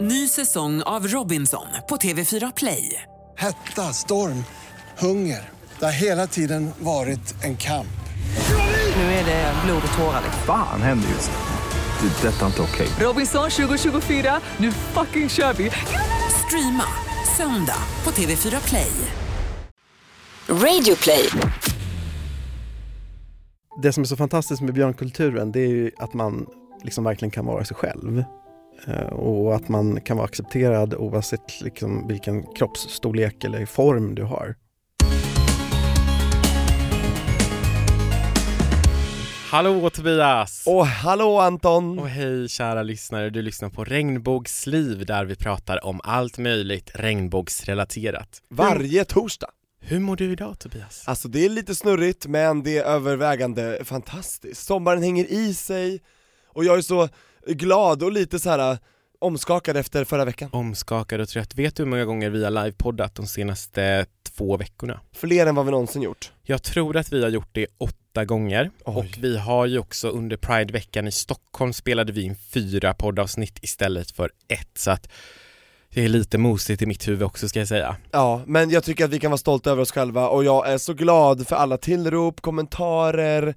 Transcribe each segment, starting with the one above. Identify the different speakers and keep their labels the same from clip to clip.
Speaker 1: Ny säsong av Robinson på TV4 Play.
Speaker 2: Hetta, storm, hunger. Det har hela tiden varit en kamp.
Speaker 1: Nu är det blod och tårar. liksom.
Speaker 3: Fan händer just nu. Det. är Detta är inte okej.
Speaker 1: Robinson 2024, nu fucking kör vi! Streama söndag på TV4 Play.
Speaker 4: Radio play.
Speaker 5: det som är så fantastiskt med björnkulturen det är ju att man liksom verkligen kan vara sig själv. Eh, Och att man kan vara accepterad oavsett liksom vilken kroppsstorlek eller form du har.
Speaker 6: Hallå Tobias!
Speaker 7: Och hallå Anton!
Speaker 6: Och hej kära lyssnare, du lyssnar på Regnbågsliv där vi pratar om allt möjligt regnbågsrelaterat.
Speaker 7: Varje torsdag.
Speaker 6: Hur mår du idag Tobias?
Speaker 7: Alltså det är lite snurrigt men det är övervägande fantastiskt. Sommaren hänger i sig och jag är så glad och lite så här äh, omskakad efter förra veckan.
Speaker 6: Omskakad och trött. Vet du hur många gånger vi har livepoddat de senaste två veckorna?
Speaker 7: Fler än vad vi någonsin gjort.
Speaker 6: Jag tror att vi har gjort det åtta gånger
Speaker 7: Oj.
Speaker 6: och vi har ju också under Prideveckan i Stockholm spelade vi in fyra poddavsnitt istället för ett så att det är lite mosigt i mitt huvud också ska jag säga.
Speaker 7: Ja, men jag tycker att vi kan vara stolta över oss själva och jag är så glad för alla tillrop, kommentarer,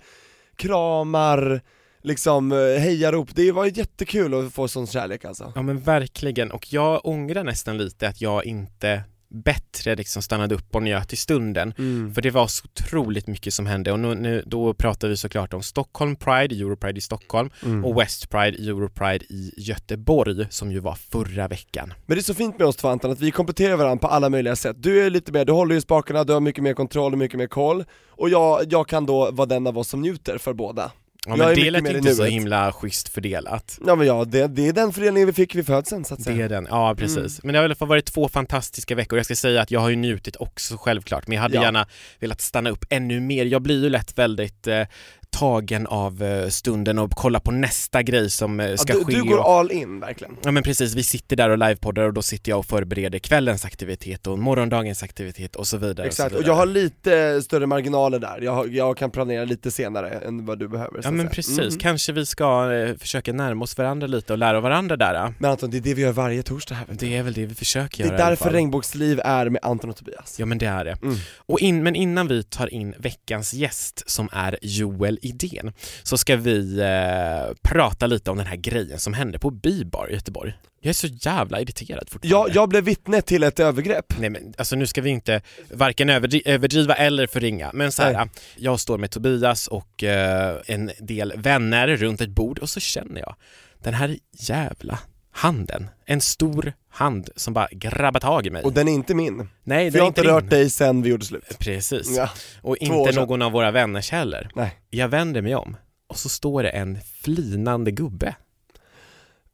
Speaker 7: kramar, liksom eh, hejarop. Det var jättekul att få sån kärlek alltså.
Speaker 6: Ja men verkligen, och jag ångrar nästan lite att jag inte bättre liksom stannade upp och njöt i stunden.
Speaker 7: Mm.
Speaker 6: För det var så otroligt mycket som hände och nu, nu, då pratar vi såklart om Stockholm Pride, Europride i Stockholm
Speaker 7: Mm.
Speaker 6: och West Pride, Europride i Göteborg som ju var förra veckan.
Speaker 7: Men det är så fint med oss två Anton, att vi kompletterar varandra på alla möjliga sätt. Du är lite mer, du håller ju spakarna, du har mycket mer kontroll och mycket mer koll. Och jag, jag kan då vara den av oss som njuter för båda.
Speaker 6: Ja,
Speaker 7: Jag
Speaker 6: men
Speaker 7: är
Speaker 6: det
Speaker 7: mycket
Speaker 6: lät
Speaker 7: mer i
Speaker 6: inte så
Speaker 7: nuet.
Speaker 6: himla schysst fördelat.
Speaker 7: Ja men ja, det, det är den fördelningen vi fick vid födseln så att
Speaker 6: Det
Speaker 7: säga.
Speaker 6: är den, ja precis. Men det har i alla fall varit två fantastiska veckor. Jag ska säga att jag har ju njutit också självklart, men jag hade
Speaker 7: Ja.
Speaker 6: gärna velat stanna upp ännu mer. Jag blir ju lätt väldigt eh, tagen av eh, stunden och kolla på nästa grej som eh,
Speaker 7: Ja,
Speaker 6: ska
Speaker 7: du,
Speaker 6: ske.
Speaker 7: du går
Speaker 6: och...
Speaker 7: all in verkligen.
Speaker 6: Ja men precis, vi sitter där och livepoddar och då sitter jag och förbereder kvällens aktivitet och morgondagens aktivitet och så vidare.
Speaker 7: Exakt,
Speaker 6: och,
Speaker 7: och
Speaker 6: så vidare.
Speaker 7: jag har lite större marginaler där. Jag, har- jag kan planera lite senare än vad du behöver så
Speaker 6: Ja
Speaker 7: att
Speaker 6: men
Speaker 7: säga.
Speaker 6: precis,
Speaker 7: Mm.
Speaker 6: kanske vi ska eh, försöka närma oss varandra lite och lära av varandra där. eh.
Speaker 7: Men Anton, det är det vi gör varje torsdag här vet du.
Speaker 6: Det är väl det vi försöker
Speaker 7: Det
Speaker 6: göra
Speaker 7: är
Speaker 6: i alla
Speaker 7: därför
Speaker 6: fall.
Speaker 7: Regnbågsliv är med Anton och Tobias.
Speaker 6: Ja men det är det.
Speaker 7: Mm.
Speaker 6: Och in, men innan vi tar in veckans gäst som är Joel Idén så ska vi eh, prata lite om den här grejen som hände på Bibar i Göteborg. Jag är så jävla irriterad
Speaker 7: Jag,
Speaker 6: fortfarande.
Speaker 7: jag blev vittne till ett övergrepp.
Speaker 6: Nej men alltså nu ska vi inte varken överdri- överdriva eller förringa, men så här,
Speaker 7: Nej.
Speaker 6: jag står med Tobias och eh, en del vänner runt ett bord och så känner jag den här jävla handen, en stor hand som bara grabbar tag i mig.
Speaker 7: Och den är inte min.
Speaker 6: Nej,
Speaker 7: För
Speaker 6: det
Speaker 7: jag
Speaker 6: är
Speaker 7: har
Speaker 6: inte
Speaker 7: inte
Speaker 6: din.
Speaker 7: rört dig sen vi gjorde slut.
Speaker 6: Precis.
Speaker 7: Ja.
Speaker 6: Och
Speaker 7: år
Speaker 6: inte
Speaker 7: sedan.
Speaker 6: någon av våra vänners heller.
Speaker 7: Nej.
Speaker 6: Jag vänder mig om och så står det en flinande gubbe.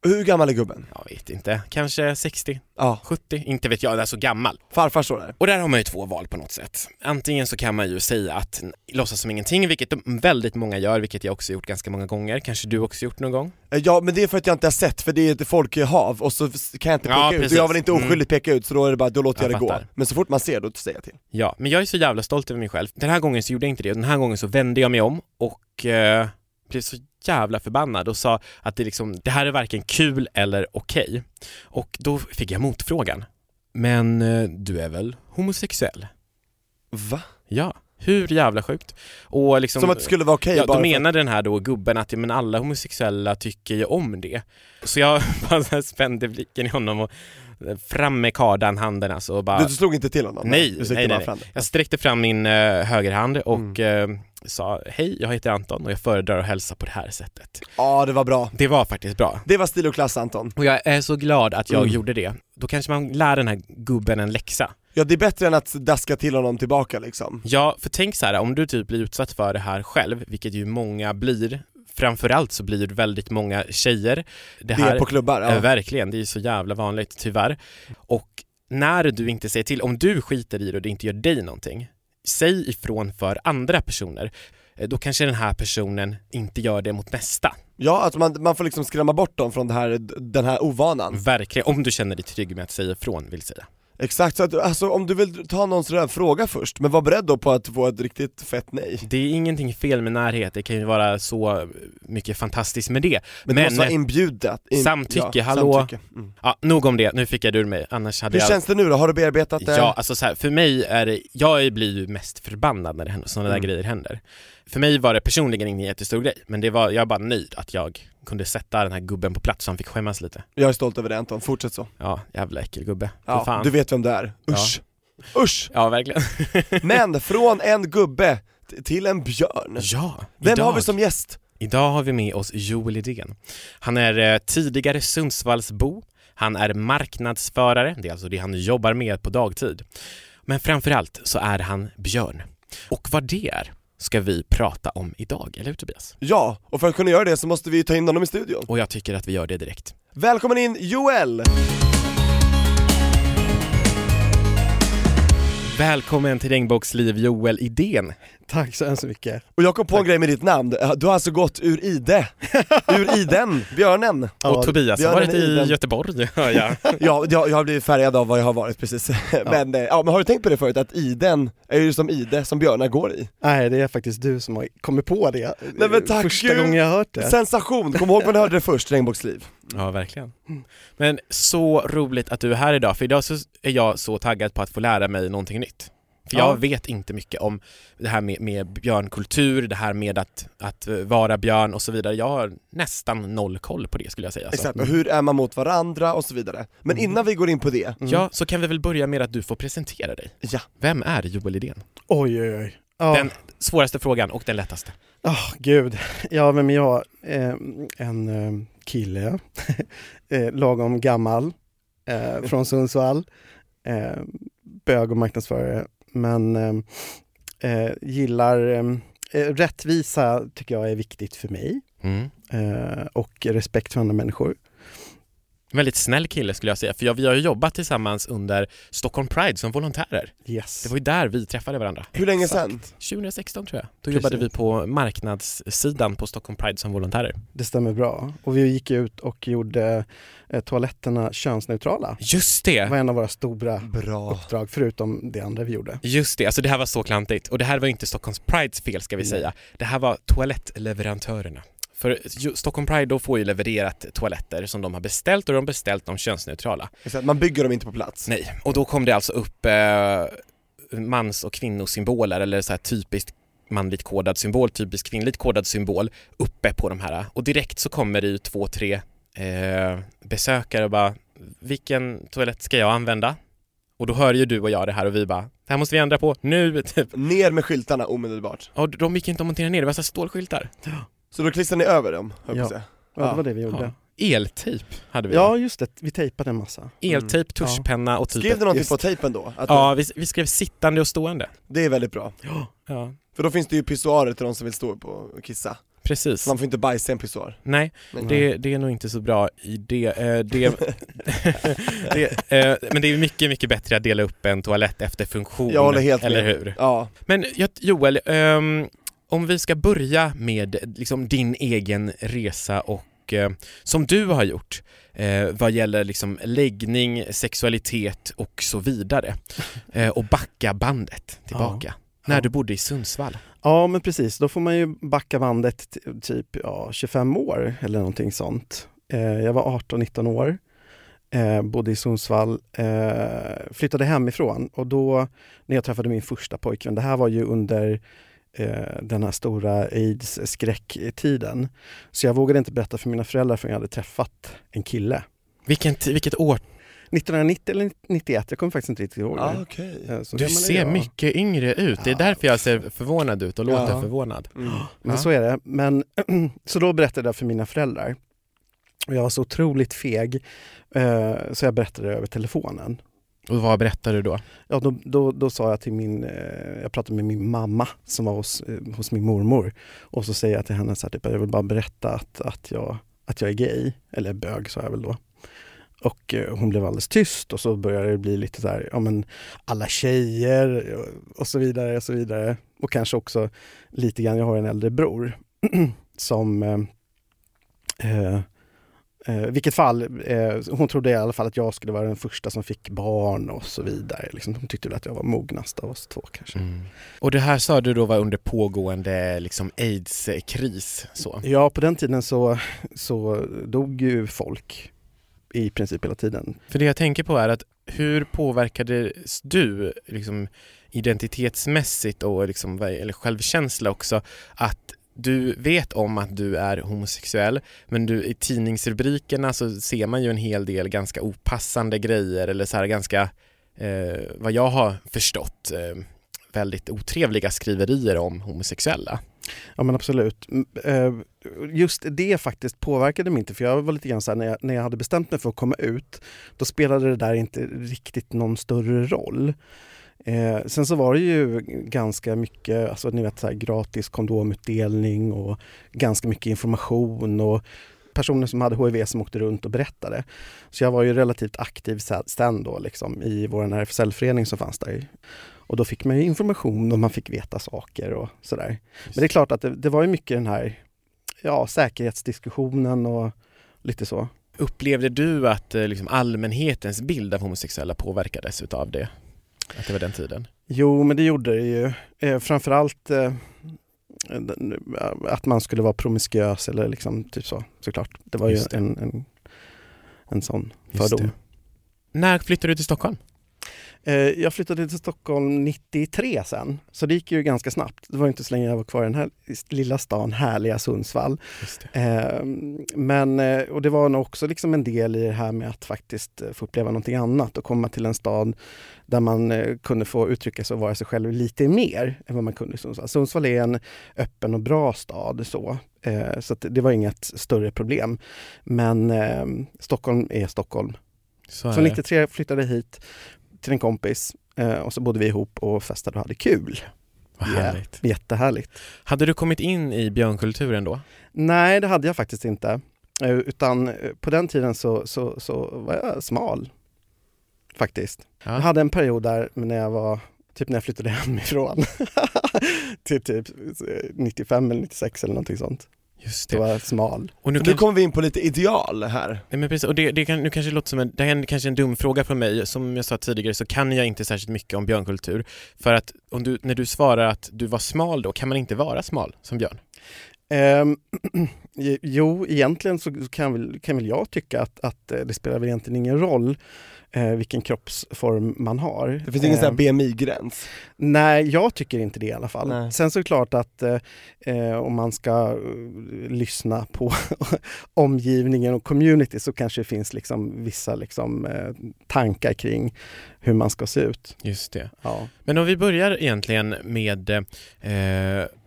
Speaker 7: Hur gammal är gubben?
Speaker 6: Jag vet inte, kanske 60,
Speaker 7: Ja,
Speaker 6: 70, inte vet jag, jag är så gammal.
Speaker 7: farfar står där.
Speaker 6: Och där har man ju två val på något sätt. Antingen så kan man ju säga att n- låtsas som ingenting, vilket de- väldigt många gör, vilket jag också gjort ganska många gånger, kanske du också gjort någon gång.
Speaker 7: Eh, Ja men det är för att jag inte har sett, för det är ett folkhav och så s- kan jag inte peka
Speaker 6: Ja,
Speaker 7: ut, och
Speaker 6: precis.
Speaker 7: jag vill inte
Speaker 6: Mm.
Speaker 7: oskyldigt peka ut så då är det bara, då låter jag,
Speaker 6: Jag
Speaker 7: det
Speaker 6: fattar.
Speaker 7: gå. Men så fort man ser då säger jag till.
Speaker 6: Ja, men jag är så jävla stolt över mig själv. Den här gången så gjorde jag inte det och den här gången så vände jag mig om och eh, blev så jävla förbannad och sa att det, liksom, det här är varken kul eller okej. Och då fick jag motfrågan. Men eh, du är väl homosexuell?
Speaker 7: Va?
Speaker 6: Ja, hur jävla sjukt? Och liksom,
Speaker 7: Som att det skulle vara okej
Speaker 6: ja,
Speaker 7: bara
Speaker 6: då
Speaker 7: för-
Speaker 6: menar den här då gubben att ja, men alla homosexuella tycker ju om det. Så jag bara så här spände blicken i honom och eh, fram med kardan, handen alltså och bara
Speaker 7: du, du slog inte till honom?
Speaker 6: Nej,
Speaker 7: du sträckte
Speaker 6: nej, nej,
Speaker 7: bara
Speaker 6: nej.
Speaker 7: fram den.
Speaker 6: jag sträckte fram min eh, högerhand
Speaker 7: Mm.
Speaker 6: och eh, sa hej, jag heter Anton och jag föredrar att hälsa på det här sättet.
Speaker 7: Ja det var bra.
Speaker 6: Det var faktiskt bra.
Speaker 7: Det var stil och klass Anton.
Speaker 6: Och jag är så glad att jag
Speaker 7: Mm.
Speaker 6: gjorde det. Då kanske man lär den här gubben en läxa.
Speaker 7: Ja det är bättre än att daska till honom tillbaka liksom.
Speaker 6: Ja, för tänk så här, om du typ blir utsatt för det här själv, vilket ju många blir, framförallt så blir det väldigt många tjejer. Det
Speaker 7: Det
Speaker 6: här,
Speaker 7: är på klubbar,
Speaker 6: Eh,
Speaker 7: ja.
Speaker 6: Verkligen, det är ju så jävla vanligt tyvärr. Och när du inte säger till, om du skiter i det och det inte gör dig någonting, säg ifrån för andra personer. Eh, Då kanske den här personen inte gör det mot nästa.
Speaker 7: ja att man, man får liksom skrämma bort dem från det här, den här ovanan.
Speaker 6: Verkligen, om du känner dig trygg med att säga ifrån vill säga.
Speaker 7: Exakt, så att, alltså, om du vill ta någon sån där fråga först, men var beredd då på att få ett riktigt fett nej.
Speaker 6: Det är ingenting fel med närhet, det kan ju vara så mycket fantastiskt med det.
Speaker 7: Men, det måste vara inbjudet. In,
Speaker 6: eh, Samtycke, hallå?
Speaker 7: samtycke. Mm.
Speaker 6: ja, nog om det, nu fick jag det ur mig, annars hade
Speaker 7: Hur
Speaker 6: jag...
Speaker 7: känns det nu då? Har du bearbetat det?
Speaker 6: Ja, alltså så här, för mig är det, jag blir ju mest förbannad när det händer, sådana
Speaker 7: Mm.
Speaker 6: där grejer händer. För mig var det personligen ingen jättestor grej, men det var, jag var bara nöjd att jag kunde sätta den här gubben på plats så han fick skämmas lite.
Speaker 7: Jag är stolt över det Anton, fortsätt så.
Speaker 6: Ja, jävla äckelgubbe. Ja,
Speaker 7: Ja,
Speaker 6: fan.
Speaker 7: du vet vem det är.
Speaker 6: Ja.
Speaker 7: Usch! Usch!
Speaker 6: Ja, verkligen.
Speaker 7: Men från en gubbe t- till en björn.
Speaker 6: ja,
Speaker 7: Vem
Speaker 6: idag.
Speaker 7: har vi som gäst?
Speaker 6: Idag har vi med oss Joel Idén. Han är eh, tidigare Sundsvallsbo, han är marknadsförare, det är alltså det han jobbar med på dagtid. Men framförallt så är han björn. Och vad det är ska vi prata om idag, eller hur Tobias?
Speaker 7: Ja, och för att kunna göra det så måste vi ta in honom i studion.
Speaker 6: Och jag tycker att vi gör det direkt.
Speaker 7: Välkommen in Joel!
Speaker 6: Välkommen till Regnbågsliv Joel Idén.
Speaker 5: Tack så hemskt mycket.
Speaker 7: Och jag kom på en grej med ditt namn, du har alltså gått ur ide, ur iden, björnen.
Speaker 5: Ja,
Speaker 6: och Tobias
Speaker 7: vi
Speaker 6: har
Speaker 7: har
Speaker 6: varit
Speaker 7: den i
Speaker 6: i
Speaker 7: den.
Speaker 6: Göteborg, hör jag.
Speaker 7: Ja, jag, jag har blivit färgad av vad jag har varit precis. Men, eh, ja, men har du tänkt på det förut, att iden är ju som ide som björnar går i?
Speaker 5: Nej, det är faktiskt du som har kommit på det.
Speaker 7: Nej, men tack
Speaker 5: Första
Speaker 7: Gud.
Speaker 5: gången jag har hört det.
Speaker 7: Sensation, kom ihåg när du hörde det först, Regnbågsliv.
Speaker 6: Ja, verkligen. Men så roligt att du är här idag, för idag så är jag så taggad på att få lära mig någonting nytt. För jag
Speaker 7: Ja.
Speaker 6: vet inte mycket om det här med, med björnkultur, det här med att, att eh, vara björn och så vidare. Jag har nästan noll koll på det skulle jag säga. alltså. Mm.
Speaker 7: Exakt, och hur är man mot varandra och så vidare. Men innan vi går in på det,
Speaker 5: Mm.
Speaker 6: Ja, så kan vi väl börja med att du får presentera dig.
Speaker 7: mm. Ja.
Speaker 6: Vem är Joel Idén?
Speaker 5: Oj, oj, oj. Ja.
Speaker 6: Den svåraste frågan och den lättaste.
Speaker 5: Ah, gud. Ja, vem är jag? Eh, en eh, kille, eh, lagom gammal, eh, från Sundsvall, eh, bög och marknadsförare, men eh, eh, gillar eh, eh, rättvisa, tycker jag är viktigt för mig,
Speaker 6: Mm.
Speaker 5: eh, och respekt för andra människor.
Speaker 6: En Väldigt snäll kille skulle jag säga, för jag, vi har ju jobbat tillsammans under Stockholm Pride som volontärer.
Speaker 5: Yes.
Speaker 6: Det var ju där vi träffade varandra.
Speaker 7: hur länge sen?
Speaker 6: 2016 tror jag. Då
Speaker 5: Precis.
Speaker 6: jobbade vi på marknadssidan på Stockholm Pride som volontärer.
Speaker 5: Det stämmer bra. Och vi gick ut och gjorde eh, toaletterna könsneutrala.
Speaker 6: Just
Speaker 5: Det
Speaker 6: det!
Speaker 5: var en av våra stora
Speaker 7: Bra.
Speaker 5: uppdrag, förutom det andra vi gjorde.
Speaker 6: Just det, alltså det här var så klantigt. Och det här var ju inte Stockholms Prides fel ska vi
Speaker 5: Nej.
Speaker 6: säga. Det här var toalettleverantörerna. För ju- Stockholm Pride då får ju levererat toaletter som de har beställt och de har beställt de könsneutrala.
Speaker 7: Exakt, man bygger dem inte på plats.
Speaker 6: Nej, och då kom det alltså upp eh, mans och kvinnosymboler eller så här typiskt manligt kodad symbol, typiskt kvinnligt kodad symbol uppe på de här. Och direkt så kommer det ju två, tre eh, besökare och bara vilken toalett ska jag använda? Och då hör ju du och jag det här och vi bara det här måste vi ändra på nu, typ.
Speaker 7: Ner med skyltarna omedelbart.
Speaker 6: Och de gick inte att montera ner, det var så här stålskyltar.
Speaker 7: Så då klistrar ni över dem, höll jag på att säga.
Speaker 5: Ja, det var det vi gjorde.
Speaker 6: Eltejp hade vi.
Speaker 5: Ja, just det. Vi tejpade en massa.
Speaker 6: Eltejp, tuschpenna och typ...
Speaker 7: Mm. Skrev du någonting
Speaker 5: Just
Speaker 7: på tejpen då? Att
Speaker 6: Ja, vi, vi skrev sittande och stående.
Speaker 7: Det är väldigt bra.
Speaker 6: Ja,
Speaker 7: För då finns det ju pissoarer till de som vill stå upp och kissa.
Speaker 6: precis.
Speaker 7: Så man får inte bajsa i en pissoar.
Speaker 6: Nej,
Speaker 7: Nej.
Speaker 6: Det, det är nog inte så bra idé. Eh, det, det, eh, men det är mycket, mycket bättre att dela upp en toalett efter funktion.
Speaker 7: Jag håller helt
Speaker 6: eller
Speaker 7: med.
Speaker 6: hur?
Speaker 7: Ja,
Speaker 6: Men jag- Joel, ehm, om vi ska börja med liksom, din egen resa och eh, som du har gjort eh, vad gäller liksom, läggning, sexualitet och så vidare. Eh, och backa bandet tillbaka. När
Speaker 5: Ja.
Speaker 6: du bodde i Sundsvall.
Speaker 5: Ja, men precis. Då får man ju backa bandet t- typ ja, 25 år eller någonting sånt. Eh, jag var 18-19 år, eh, bodde i Sundsvall, eh, flyttade hemifrån och då när jag träffade min första pojkvän, det här var ju under eh, den här stora aids-skräcktiden. Så jag vågade inte berätta för mina föräldrar förrän jag hade träffat en kille.
Speaker 6: Vilken, t- vilket år?
Speaker 5: 1990 eller 91, jag kommer faktiskt inte riktigt ihåg det.
Speaker 7: ah, okej.
Speaker 5: Eh, så
Speaker 6: Du
Speaker 5: gammal är
Speaker 6: ser
Speaker 5: jag.
Speaker 6: mycket yngre ut. Det är
Speaker 5: Ja.
Speaker 6: därför jag ser förvånad ut och låter
Speaker 7: Ja.
Speaker 6: förvånad.
Speaker 7: Mm.
Speaker 5: Men
Speaker 6: Ja.
Speaker 5: så är det. Men, så då berättade jag för mina föräldrar. Och jag var så otroligt feg, eh, så jag berättade över telefonen.
Speaker 6: Och vad berättar du då?
Speaker 5: Ja, då, då, då sa jag till min, eh, jag pratade med min mamma som var hos, eh, hos min mormor. Och så säger jag till henne så här, typ, jag vill bara berätta att, att, jag, att jag är gay, eller bög sa jag väl då. Och eh, hon blev alldeles tyst och så började det bli lite så här, ja men alla tjejer och- och så vidare och så vidare. Och kanske också lite grann, jag har en äldre bror som eh, eh, Eh, vilket fall, eh, hon trodde i alla fall att jag skulle vara den första som fick barn och så vidare. Liksom, hon tyckte väl att jag var mognast av oss två kanske.
Speaker 6: Och det här sa du då var under pågående liksom aids-kris så.
Speaker 5: Ja, på den tiden så, så dog ju folk i princip hela tiden.
Speaker 6: För det jag tänker på är att hur påverkades du liksom, identitetsmässigt och liksom, vad- eller självkänsla också att du vet om att du är homosexuell men du, i tidningsrubrikerna så ser man ju en hel del ganska opassande grejer eller så här ganska, eh, vad jag har förstått, eh, väldigt otrevliga skriverier om homosexuella.
Speaker 5: Ja men absolut. Mm, eh, Just det faktiskt påverkade mig inte för jag var lite grann så här, när, jag, när jag hade bestämt mig för att komma ut då spelade det där inte riktigt någon större roll. Eh, sen så var det ju ganska mycket alltså, ni vet, så här, gratis kondomutdelning och ganska mycket information och personer som hade HIV som åkte runt och berättade. Så jag var ju relativt aktiv se- sen då liksom, i vår RFSL-förening som fanns där. Och då fick man ju information och man fick veta saker och sådär. Men det är klart att det, det var ju mycket den här ja, säkerhetsdiskussionen och lite så.
Speaker 6: Upplevde du att eh, liksom, allmänhetens bild av homosexuella påverkades utav det? Att det var den tiden?
Speaker 5: Jo, men det gjorde det ju. Eh, framförallt eh, den- att man skulle vara promiskuös eller liksom typ så, såklart. Det var ju
Speaker 6: Just det.
Speaker 5: en, en, en sån
Speaker 6: Just
Speaker 5: fördom.
Speaker 6: När flyttade du till Stockholm?
Speaker 5: Eh, jag flyttade till Stockholm 93 sen, så det gick ju ganska snabbt. Det var ju inte så länge jag var kvar i den här lilla stan, härliga Sundsvall. Eh, men, eh, och det var nog också liksom en del i det här med att faktiskt eh, få uppleva någonting annat och komma till en stad där man eh, kunde få uttrycka sig och vara sig själv lite mer än vad man kunde i Sundsvall. Sundsvall är en öppen och bra stad så, eh, så att det var inget större problem. Men eh, Stockholm är Stockholm.
Speaker 6: Så
Speaker 5: Så 93 flyttade jag hit till en kompis eh, och så bodde vi ihop och festade och hade kul.
Speaker 6: Vad
Speaker 5: Ja,
Speaker 6: härligt.
Speaker 5: Jättehärligt.
Speaker 6: Hade du kommit in i björnkulturen då?
Speaker 5: Nej, det hade jag faktiskt inte. Eh, Utan eh, på den tiden så, så, så var jag smal, faktiskt.
Speaker 6: Ja.
Speaker 5: Jag hade en period där när jag var, typ när jag flyttade hemifrån, till typ 95 eller 96 eller någonting sånt.
Speaker 6: Just
Speaker 5: Då var jag smal.
Speaker 6: Och nu,
Speaker 7: Nu
Speaker 6: kan,
Speaker 7: kommer vi in på lite ideal här.
Speaker 6: nej men precis, och det, det kan, nu kanske det låter som en, det här är kanske en dum fråga från mig. Som jag sa tidigare så kan jag inte särskilt mycket om björnkultur. För att om du, när du svarar att du var smal då, kan man inte vara smal som björn?
Speaker 5: Ehm, jo, egentligen så kan väl, kan väl jag tycka att, att eh, det spelar väl egentligen ingen roll eh, vilken kroppsform man har.
Speaker 7: Det finns ingen sån här
Speaker 5: Ehm,
Speaker 7: BMI-gräns.
Speaker 5: Nej, jag tycker inte det i alla fall.
Speaker 7: Nej.
Speaker 5: Sen så är det klart att eh, eh, om man ska eh, lyssna på omgivningen och community så kanske det finns liksom vissa liksom, eh, tankar kring hur man ska se ut.
Speaker 6: Just det.
Speaker 5: Ja.
Speaker 6: Men om vi börjar egentligen med, eh,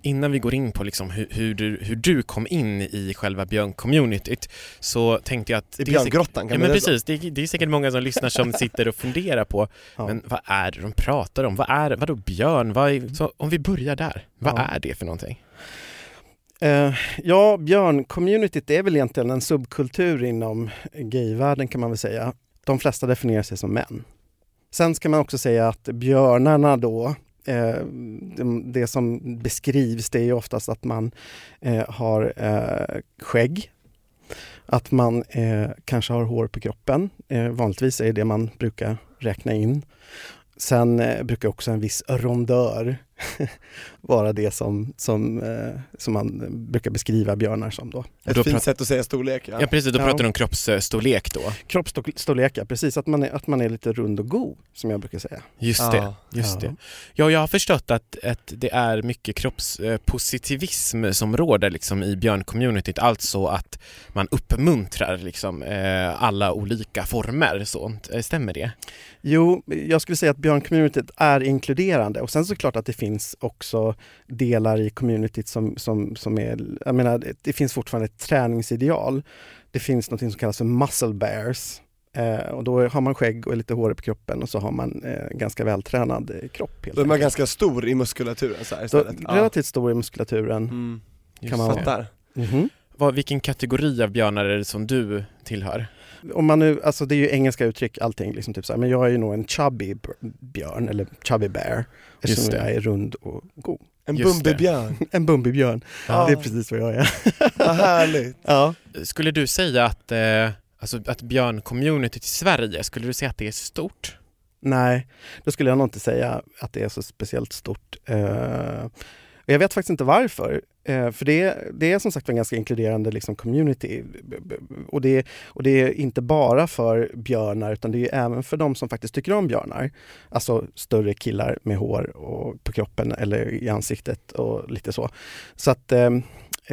Speaker 6: innan vi går in på liksom hur, hur, du, hur du kom in i själva björncommunityt, så tänkte jag att...
Speaker 7: I
Speaker 6: det är säkert-
Speaker 7: björngrottan
Speaker 6: Ja
Speaker 7: kan
Speaker 6: men
Speaker 7: man
Speaker 6: precis, det är, det är säkert många som lyssnar som sitter och funderar på
Speaker 5: Ja.
Speaker 6: Men vad är det de pratar om? Vad är, vadå björn? Vad är, så om vi börjar där, vad
Speaker 5: Ja.
Speaker 6: är det för någonting?
Speaker 5: Eh, ja, björn-communityt är väl egentligen en subkultur inom gayvärlden kan man väl säga. De flesta definierar sig som män. Sen ska man också säga att björnarna då, eh, de- det som beskrivs det är ju oftast att man eh, har eh, skägg, att man eh, kanske har hår på kroppen. Eh, vanligtvis är det det man brukar räkna in. Sen eh, brukar också en viss rondör vara det som, som, eh, som man brukar beskriva björnar som. Då.
Speaker 7: Ett
Speaker 6: Då
Speaker 7: fint
Speaker 6: pratar-
Speaker 7: sätt att säga storlek ja.
Speaker 6: Ja, precis, då
Speaker 5: Ja.
Speaker 6: pratar de om kroppsstorlek då.
Speaker 5: Kroppsstorlek, ja, precis. Att man, är, att man är lite rund och god, som jag brukar säga.
Speaker 6: Just det.
Speaker 7: Ja.
Speaker 6: Just
Speaker 5: Ja.
Speaker 6: det. Ja, jag har förstått att, att det är mycket kroppspositivism som råder liksom, i björncommunityt, alltså att man uppmuntrar liksom, eh, alla olika former. Så. Eh, Stämmer det?
Speaker 5: Jo, jag skulle säga att björncommunityt är inkluderande och sen såklart att det finns också delar i communityt som, som, som är, jag menar det- det finns fortfarande ett träningsideal. Det finns något som kallas för muscle bears eh, och då har man skägg och lite hår på kroppen och så har man eh, ganska vältränad eh, kropp. Helt
Speaker 7: Då är man
Speaker 5: enkelt.
Speaker 7: ganska stor i muskulaturen så här
Speaker 5: så,
Speaker 7: istället. Ja.
Speaker 5: relativt stor i muskulaturen.
Speaker 7: Mm.
Speaker 6: Just
Speaker 5: Kan man
Speaker 6: det.
Speaker 5: vara.
Speaker 7: Fattar.
Speaker 5: Mhm.
Speaker 6: Vad, vilken kategori av björnar är det som du tillhör?
Speaker 5: Om man nu, alltså det är ju engelska uttryck allting, liksom typ så här, men jag är ju nog en chubby b- björn eller chubby bear
Speaker 6: Just
Speaker 5: eftersom
Speaker 6: det.
Speaker 5: jag är rund och god.
Speaker 7: En
Speaker 6: Just det.
Speaker 7: Bumbibjörn,
Speaker 5: En bumbibjörn,
Speaker 7: Ja.
Speaker 5: det är precis vad jag är.
Speaker 7: vad härligt!
Speaker 5: Ja.
Speaker 6: Skulle du säga att, eh, alltså att björncommunityt i Sverige, skulle du säga att det är stort?
Speaker 5: Nej, då skulle jag nog inte säga att det är så speciellt stort. Eh, och jag vet faktiskt inte varför. Eh, för det, det är som sagt en ganska inkluderande liksom, community. B- b- Och det, och det är inte bara för björnar utan det är ju även för de som faktiskt tycker om björnar. Alltså större killar med hår och på kroppen eller i ansiktet och lite så. Så att eh,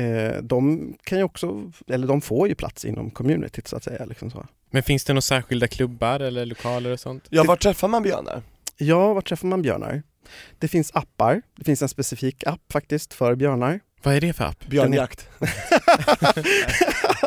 Speaker 5: eh, de kan ju också, eller de får ju plats inom communityt så att säga. Liksom så.
Speaker 6: Men finns det några särskilda klubbar eller lokaler och sånt?
Speaker 7: Ja, var träffar man björnar?
Speaker 5: Ja, var träffar man björnar? Det finns appar. Det finns en specifik app faktiskt för björnar.
Speaker 6: Vad är det för app?
Speaker 7: Björnjakt.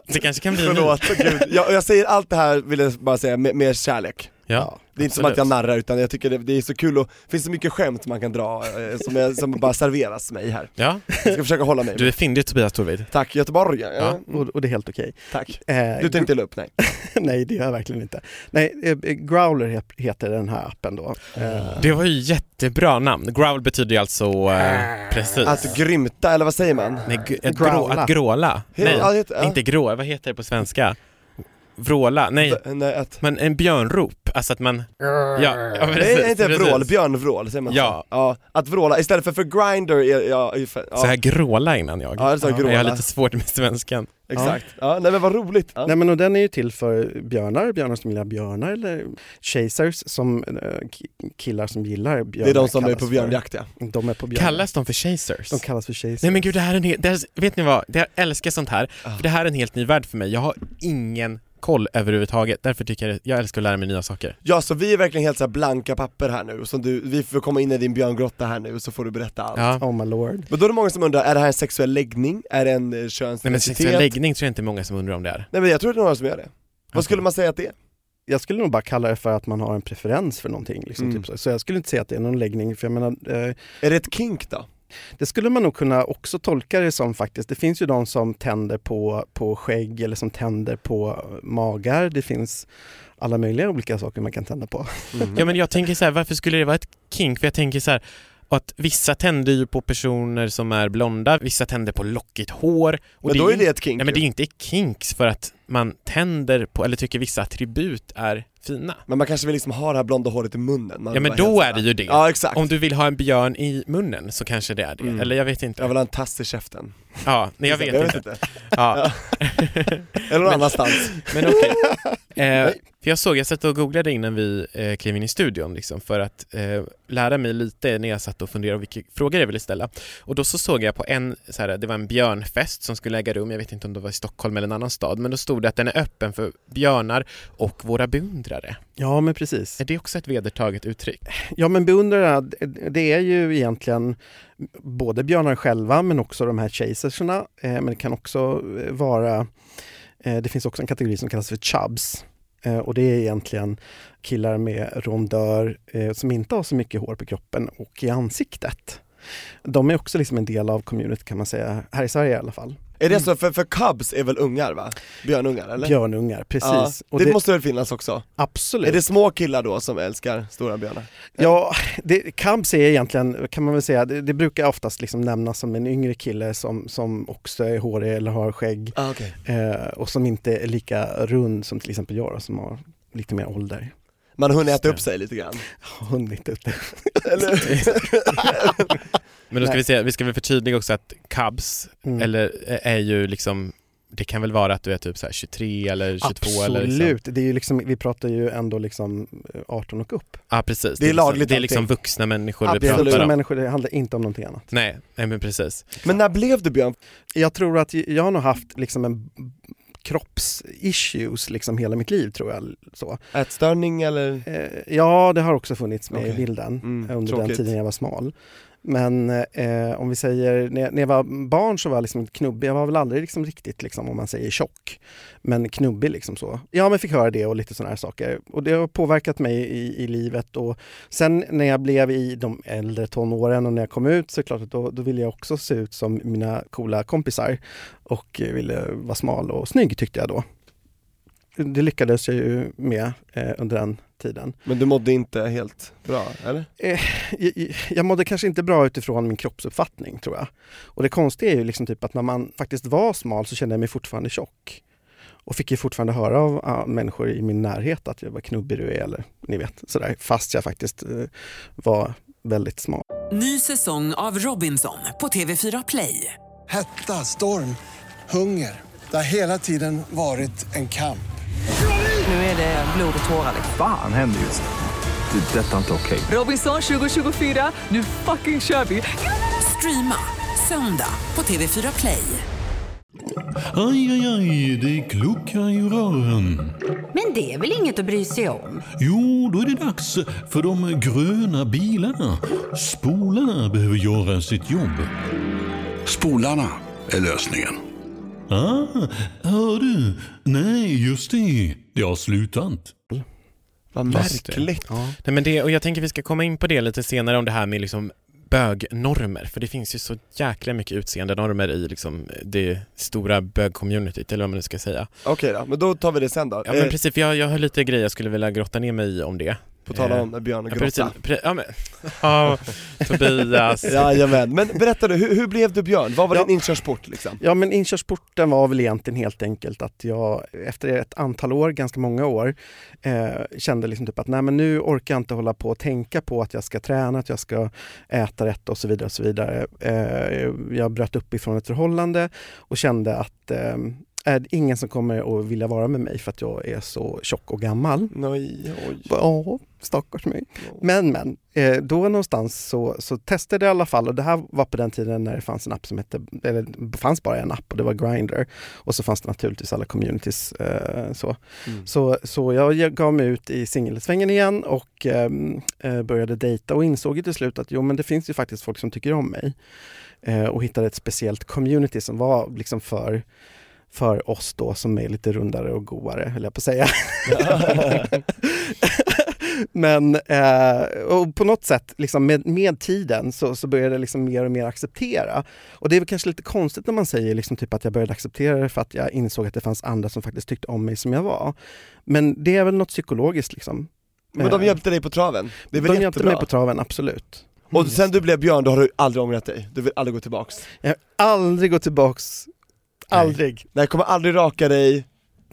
Speaker 6: Det kanske kan bli en ny.
Speaker 7: Förlåt, åh gud. Jag, jag säger allt det här, vill jag bara säga, med, med kärlek.
Speaker 6: Ja.
Speaker 7: Det är inte som
Speaker 6: Absolut.
Speaker 7: att jag narrar utan jag tycker det, det är så kul och det finns så mycket skämt man kan dra eh, som, jag, som bara serveras mig här.
Speaker 6: ja,
Speaker 7: Jag ska försöka hålla mig.
Speaker 6: du är fyndig Tobias Torvid.
Speaker 7: Tack Göteborg, ja.
Speaker 6: Ja.
Speaker 5: Och, och det är helt okej.
Speaker 7: tack.
Speaker 5: Eh,
Speaker 7: Du tänkte illa upp, nej.
Speaker 5: gr- Nej, det gör jag verkligen inte. Nej, eh, Growler he- heter den här appen då. Eh,
Speaker 6: Det var ju jättebra namn. Growl betyder ju alltså,
Speaker 7: Äh.
Speaker 6: eh, precis.
Speaker 7: Att grymta, eller vad säger man?
Speaker 6: Nej, g- att, grå,
Speaker 5: Growla.
Speaker 6: att gråla.
Speaker 7: He-
Speaker 6: Nej,
Speaker 7: ja, det heter- ja.
Speaker 6: inte grå, vad heter det på svenska? Vråla, nej.
Speaker 7: V- Alltså, nej, att...
Speaker 6: Men en björnrop, alltså att man... Ja, ja precis,
Speaker 7: Nej, inte
Speaker 6: precis.
Speaker 7: vrål, björnvrål säger man så?
Speaker 6: Ja.
Speaker 7: ja. Att vråla, istället för för grinder, är- ja, är för- ja,
Speaker 6: Så här gråla innan jag.
Speaker 7: Ja, det sa gråla.
Speaker 6: Jag har lite svårt med svenskan.
Speaker 7: exakt. Ja. nej men vad roligt. Ja.
Speaker 5: Nej, men och den är ju till för björnar, björnar som gillar björnar eller chasers som eh, ki- killar som gillar
Speaker 7: det
Speaker 5: björnar.
Speaker 7: är de som är
Speaker 5: kallas
Speaker 7: på björnjakt ja.
Speaker 5: För. De är på björnar.
Speaker 6: Kallas de för chasers?
Speaker 5: De kallas för chasers.
Speaker 6: Nej men gud, det här är en hel, det här, vet ni vad? Det, jag älskar sånt här,
Speaker 7: Ah.
Speaker 6: för det här är en helt ny värld för mig. Jag har ingen koll överhuvudtaget, därför tycker jag det- jag älskar att lära mig nya saker.
Speaker 7: Ja så vi är verkligen helt så här blanka papper här nu, som du, vi får komma in i din björngrotta här nu så får du berätta allt.
Speaker 6: Ja.
Speaker 5: Oh my lord.
Speaker 7: Men då är det många som undrar, är det här en sexuell läggning? Är det en eh,
Speaker 6: Nej men
Speaker 7: könsidentitet?
Speaker 6: sexuell läggning tror jag inte många som undrar om det är.
Speaker 7: Nej men jag tror det är några som gör det. Vad skulle man säga att det är?
Speaker 5: jag skulle nog bara kalla det för att man har en preferens för någonting. Liksom,
Speaker 7: Mm.
Speaker 5: typ så. så jag skulle inte säga att det är någon läggning. För jag menar, eh,
Speaker 7: Är det ett kink då?
Speaker 5: det skulle man nog kunna också tolka det som faktiskt. Det finns ju de som tänder på, på skägg eller som tänder på magar. Det finns alla möjliga olika saker man kan tända på.
Speaker 6: Ja men jag tänker så här, varför skulle det vara ett kink? För jag tänker så här, att vissa tänder ju på personer som är blonda, vissa tänder på lockigt hår. Och
Speaker 7: Men då är det ett kink
Speaker 6: Nej men det
Speaker 7: ju.
Speaker 6: är ju inte kinks för att man tänder på, eller tycker vissa attribut är fina.
Speaker 7: Men man kanske vill liksom ha det här blonda håret i munnen. Man
Speaker 6: Ja
Speaker 7: vill
Speaker 6: men
Speaker 7: vara
Speaker 6: då
Speaker 7: helt
Speaker 6: är det ju det.
Speaker 7: Ja exakt.
Speaker 6: Om du vill ha en björn i munnen så kanske det är det,
Speaker 7: Mm.
Speaker 6: eller jag vet
Speaker 7: Jag
Speaker 6: inte.
Speaker 7: vill ha en tass i käften.
Speaker 6: Ja, nej jag vet inte.
Speaker 7: inte.
Speaker 6: Ja.
Speaker 7: Eller någon annanstans.
Speaker 6: Men okej. Eh, för jag såg, jag satt och googlade innan vi eh, klev in i studion liksom, för att eh, lära mig lite när jag satt och funderade på vilka frågor jag ville ställa. Och då så såg jag på en, så här, det var en björnfest som skulle äga rum, jag vet inte om det var i Stockholm eller en annan stad, men då stod det att den är öppen för björnar och våra beundrare.
Speaker 5: Ja men precis.
Speaker 6: Är det också ett vedertaget uttryck?
Speaker 5: Ja men beundrarna, det- det är ju egentligen både björnar själva men också de här chaserserna. Eh, Men det kan också eh, vara, eh, det finns också en kategori som kallas för chubs. Eh, Och det är egentligen killar med rondör eh, som inte har så mycket hår på kroppen och i ansiktet. De är också liksom en del av communityt kan man säga, här i Sverige i alla fall.
Speaker 7: Är det
Speaker 6: Mm.
Speaker 7: så, för, för cubs är väl ungar va? Björnungar eller?
Speaker 5: Björnungar, precis.
Speaker 7: Ja,
Speaker 5: Och
Speaker 7: det,
Speaker 5: det-
Speaker 7: måste väl finnas också?
Speaker 5: absolut.
Speaker 7: Är det små killar då som älskar stora björnar?
Speaker 5: Ja, det, Cubs är egentligen, kan man väl säga, det, det brukar oftast liksom nämnas som en yngre kille som, som också är hårig eller har skägg
Speaker 7: Ah, okay.
Speaker 5: eh, och som inte är lika rund som till exempel jag då, som har lite mer ålder.
Speaker 7: Man har hunnit äta
Speaker 6: det.
Speaker 7: upp sig lite grann.
Speaker 5: Har hunnit ut det.
Speaker 6: Men då ska
Speaker 5: Nej.
Speaker 6: vi, säga, vi ska väl förtydliga också att cubs
Speaker 5: Mm.
Speaker 6: eller, eh, är ju liksom, det kan väl vara att du är typ så här 23 eller 22 eller liksom.
Speaker 5: Absolut, det är ju liksom, vi pratar ju ändå liksom eh, 18 och upp.
Speaker 6: Ja precis,
Speaker 7: Det är lagligt
Speaker 6: liksom, det är liksom
Speaker 7: allting.
Speaker 6: vuxna människor vi
Speaker 5: Absolut.
Speaker 6: pratar
Speaker 5: Vuxna
Speaker 6: om.
Speaker 5: människor, det handlar inte om någonting annat.
Speaker 6: Nej, nej men precis.
Speaker 7: Men när blev du björn?
Speaker 5: Jag tror att jag har nog haft liksom en kroppsissues liksom hela mitt liv tror jag. Så.
Speaker 7: Ätstörning eller?
Speaker 5: Eh, Ja, det har också funnits med i
Speaker 7: Okej.
Speaker 5: bilden
Speaker 7: Mm,
Speaker 5: under den
Speaker 7: tråkigt.
Speaker 5: tiden jag var smal. Men eh, om vi säger, när jag, när jag var barn så var jag liksom knubbig, jag var väl aldrig liksom riktigt liksom, om man säger tjock, men knubbig liksom så. Ja men fick höra det och lite sådana här saker och det har påverkat mig i, i livet och sen när jag blev i de äldre tonåren och när jag kom ut så är det klart att då, då ville jag också se ut som mina coola kompisar och eh, ville vara smal och snygg tyckte jag då. det lyckades jag ju med eh, under den tiden.
Speaker 7: Men du mådde inte helt bra, eller?
Speaker 5: jag, Eh, jag mådde kanske inte bra utifrån min kroppsuppfattning tror jag. Och det konstiga är ju liksom typ att när man faktiskt var smal så kände jag mig fortfarande tjock. Och fick ju fortfarande höra av ah, människor i min närhet att jag var knubbig du är eller ni vet sådär. Fast jag faktiskt eh, var väldigt smal.
Speaker 1: Ny säsong av Robinson på TV4 Play.
Speaker 2: Hetta, storm, hunger. Det har hela tiden varit en kamp.
Speaker 1: Nu är det blod och tårar. liksom.
Speaker 3: Fan händer just nu. Det. är Detta är inte okej.
Speaker 1: Robinson 2024, nu fucking kör vi! Streama söndag på TV4 Play.
Speaker 8: Aj, aj, aj, det kluckar i rören.
Speaker 9: Men det är väl inget att bry sig om?
Speaker 8: Jo, då är det dags för de gröna bilarna. Spolarna behöver göra sitt jobb.
Speaker 10: Spolarna är lösningen.
Speaker 8: Ah, hör du? Nej, just det. Det har slutat.
Speaker 7: Vad
Speaker 6: Just det.
Speaker 7: märkligt.
Speaker 6: Nej, men det, och jag tänker vi ska komma in på det lite senare om det här med liksom bögnormer, för det finns ju så jäkla mycket utseendenormer i liksom det stora bögcommunityt, eller vad man nu ska säga.
Speaker 7: Okej då, men då tar vi det sen då.
Speaker 6: Ja men
Speaker 7: Eh,
Speaker 6: precis, för jag, jag har lite grejer jag skulle vilja grotta ner mig i om det.
Speaker 7: på tal
Speaker 6: eh,
Speaker 7: om Björn och
Speaker 6: Ja, precis,
Speaker 7: Grotta.
Speaker 6: pre, ja, men, ja, Tobias.
Speaker 7: Jajamän, men berätta du, hur, hur blev du Björn? Vad var
Speaker 5: Ja.
Speaker 7: din inkörsport liksom?
Speaker 5: Ja men inkörsporten var väl egentligen helt enkelt att jag efter ett antal år, ganska många år, eh, kände liksom typ att nej men nu orkar jag inte hålla på och tänka på att jag ska träna, att jag ska äta rätt och så vidare. Och så vidare. Eh, jag bröt upp ifrån ett förhållande och kände att eh, är det ingen som kommer att vilja vara med mig för att jag är så tjock och gammal.
Speaker 7: Nej, oj.
Speaker 5: Ja, stackars mig. Men men, eh, då någonstans så, så testade jag i alla fall och det här var på den tiden när det fanns en app som hette, eller det fanns bara en app och det var Grindr och så fanns det naturligtvis alla communities eh, så. Så, så jag ge- gav mig ut i singelsvängen igen och ehm, eh, började dejta och insåg ju till slut att jo men det finns ju faktiskt folk som tycker om mig eh, och hittade ett speciellt community som var liksom för för oss då som är lite rundare och goare, höll jag på att säga. Men eh, och på något sätt, liksom med, med tiden, så, så började jag liksom mer och mer acceptera. Och det är väl kanske lite konstigt när man säger liksom typ att jag började acceptera det för att jag insåg att det fanns andra som faktiskt tyckte om mig som jag var. Men det är väl något psykologiskt. Liksom.
Speaker 7: Men de
Speaker 5: Eh,
Speaker 7: hjälpte dig på traven? Det är väl
Speaker 5: de hjälpte
Speaker 7: jättebra?
Speaker 5: mig på traven, absolut.
Speaker 7: Och sen du blev Björn, då har du aldrig ångrat dig? Du vill aldrig gå tillbaks?
Speaker 5: Jag har aldrig gått tillbaks, aldrig.
Speaker 7: Nej, kommer aldrig raka dig,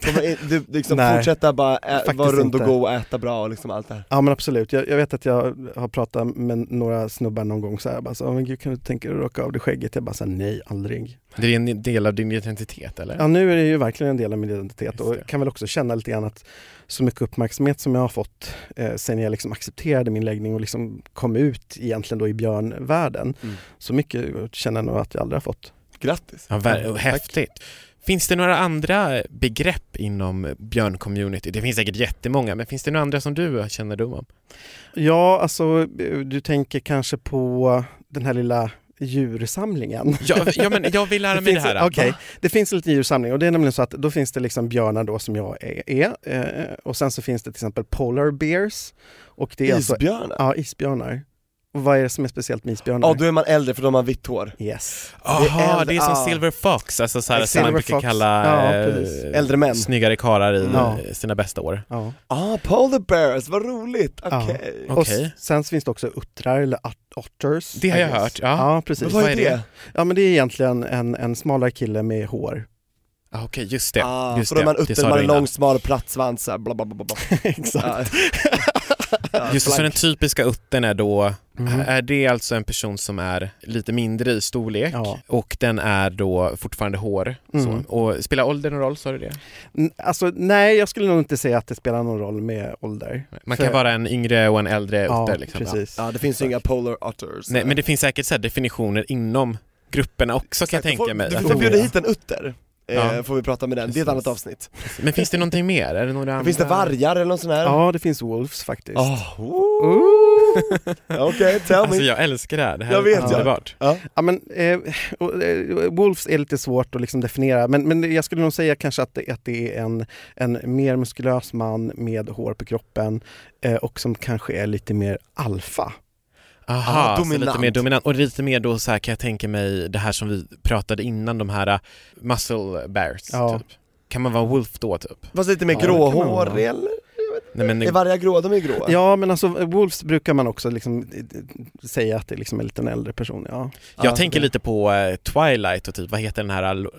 Speaker 7: kommer in, du liksom
Speaker 5: Nej.
Speaker 7: fortsätta bara ä,
Speaker 5: Faktiskt
Speaker 7: vara runt och
Speaker 5: inte.
Speaker 7: gå och äta bra och liksom allt det här.
Speaker 5: Ja men absolut, jag, jag vet att jag har pratat med några snubbar någon gång så här, jag bara så, "Åh, men gud kan du tänka dig att raka av dig skägget? Jag bara så här, nej aldrig.
Speaker 6: Det är en del av din identitet eller?
Speaker 5: Ja, nu är det ju verkligen en del av min identitet
Speaker 6: Just
Speaker 5: och
Speaker 6: det.
Speaker 5: jag kan väl också känna lite grann att så mycket uppmärksamhet som jag har fått eh, sen jag liksom accepterade min läggning och liksom kom ut egentligen då i björnvärlden,
Speaker 6: Mm.
Speaker 5: så mycket känner jag nog att jag aldrig har fått.
Speaker 7: Grattis!
Speaker 6: Ja, ver- och häftigt. Finns det några andra begrepp inom björncommunity? Det finns säkert jättemånga, men finns det några andra som du känner dig om?
Speaker 5: Ja, alltså eh, du tänker kanske på den här lilla djursamlingen.
Speaker 6: Ja, ja, men jag vill lära mig det
Speaker 5: finns,
Speaker 6: här.
Speaker 5: okej. det finns en liten djursamling och det är nämligen så att då finns det liksom björnar då som jag är, är eh, och sen så finns det till exempel polar bears. Och det är alltså,
Speaker 7: Isbjörnar?
Speaker 5: ja, isbjörnar. Och vad är det som är speciellt med isbjörnar?
Speaker 7: Ja, då är man äldre för de har vitt hår.
Speaker 5: Yes.
Speaker 6: Jaha,
Speaker 5: äldre-
Speaker 6: det är som
Speaker 5: ja.
Speaker 6: silver fox, alltså så
Speaker 5: Silver
Speaker 6: här, som man brukar
Speaker 5: fox.
Speaker 6: kalla
Speaker 5: Ja,
Speaker 6: eh,
Speaker 5: precis.
Speaker 7: Äldre män.
Speaker 6: snyggare karlar i
Speaker 5: Ja.
Speaker 6: eh, sina bästa år.
Speaker 5: Ja.
Speaker 7: Ah, polar bears, vad roligt! Okej.
Speaker 5: Ja.
Speaker 6: Okej.
Speaker 5: Och s- sen så finns det också uttrar eller ut- otters.
Speaker 6: Det har
Speaker 5: I
Speaker 6: jag
Speaker 5: guess.
Speaker 6: hört, ja.
Speaker 5: Ja,
Speaker 7: Men
Speaker 5: precis.
Speaker 7: vad är det?
Speaker 5: Ja, men det är egentligen en, en smalare kille med hår.
Speaker 6: Ah, Okej, just det.
Speaker 7: ah,
Speaker 6: just
Speaker 7: för de
Speaker 6: det.
Speaker 7: har en
Speaker 6: det
Speaker 7: utter,
Speaker 6: sa
Speaker 7: man har
Speaker 6: du
Speaker 7: en
Speaker 6: innan.
Speaker 7: lång smal platt svans så här, bla bla bla bla, bla.
Speaker 5: Exakt.
Speaker 7: Ja,
Speaker 6: Just det, så den
Speaker 7: blank.
Speaker 6: typiska uttern är då, är det alltså en person som är lite mindre i storlek
Speaker 5: Ja.
Speaker 6: och den är då fortfarande hår.
Speaker 5: Mm.
Speaker 6: Så. Och spelar åldern någon roll, sa du det?
Speaker 5: N- Alltså, nej, jag skulle nog inte säga att det spelar någon roll med ålder.
Speaker 6: Man
Speaker 5: För-
Speaker 6: kan vara en yngre och en äldre
Speaker 5: ja,
Speaker 6: utter liksom.
Speaker 5: precis.
Speaker 7: Ja, det finns ju inga polar otters.
Speaker 6: Nej, men det finns säkert så här definitioner inom grupperna också kan jag
Speaker 7: Du får-
Speaker 6: tänka mig.
Speaker 7: Du
Speaker 6: Att-
Speaker 7: får bjuda hit en utter, eh,
Speaker 6: Ja.
Speaker 7: får vi prata med den, det är ett annat avsnitt.
Speaker 6: Men finns det någonting mer? Är det några andra?
Speaker 7: Finns det vargar eller något sånt här?
Speaker 5: Ja, det finns wolves faktiskt.
Speaker 7: Ah,
Speaker 5: Ooh.
Speaker 7: Okej, tell me.
Speaker 6: Alltså jag älskar det här, det här
Speaker 7: Jag vet,
Speaker 6: är
Speaker 7: ja.
Speaker 6: underbart.
Speaker 7: ja.
Speaker 5: Ja, men, eh, och, eh, Wolves är lite svårt att liksom definiera, men, men jag skulle nog säga kanske att det, att det är en, en mer muskulös man med hår på kroppen eh, och som kanske är lite mer alfa.
Speaker 6: Aha,
Speaker 7: Ah,
Speaker 6: så lite
Speaker 7: dominant.
Speaker 6: mer dominant. Och lite mer då så här kan jag tänka mig det här som vi pratade innan, de här uh, muscle bears
Speaker 5: Ja.
Speaker 6: typ. Kan man vara wolf då typ?
Speaker 7: Fast lite mer
Speaker 5: Ja, det kan man
Speaker 7: gråhårig
Speaker 5: vara.
Speaker 7: eller?
Speaker 6: Nej men
Speaker 7: Är vargar gråa? De är gråa.
Speaker 5: Ja, men alltså Wolves brukar man också liksom eh, eh, säga att det liksom är lite en äldre person. Ja.
Speaker 6: jag
Speaker 5: Ja,
Speaker 6: tänker
Speaker 5: det-
Speaker 6: lite på eh, Twilight och typ, vad heter den här Lo-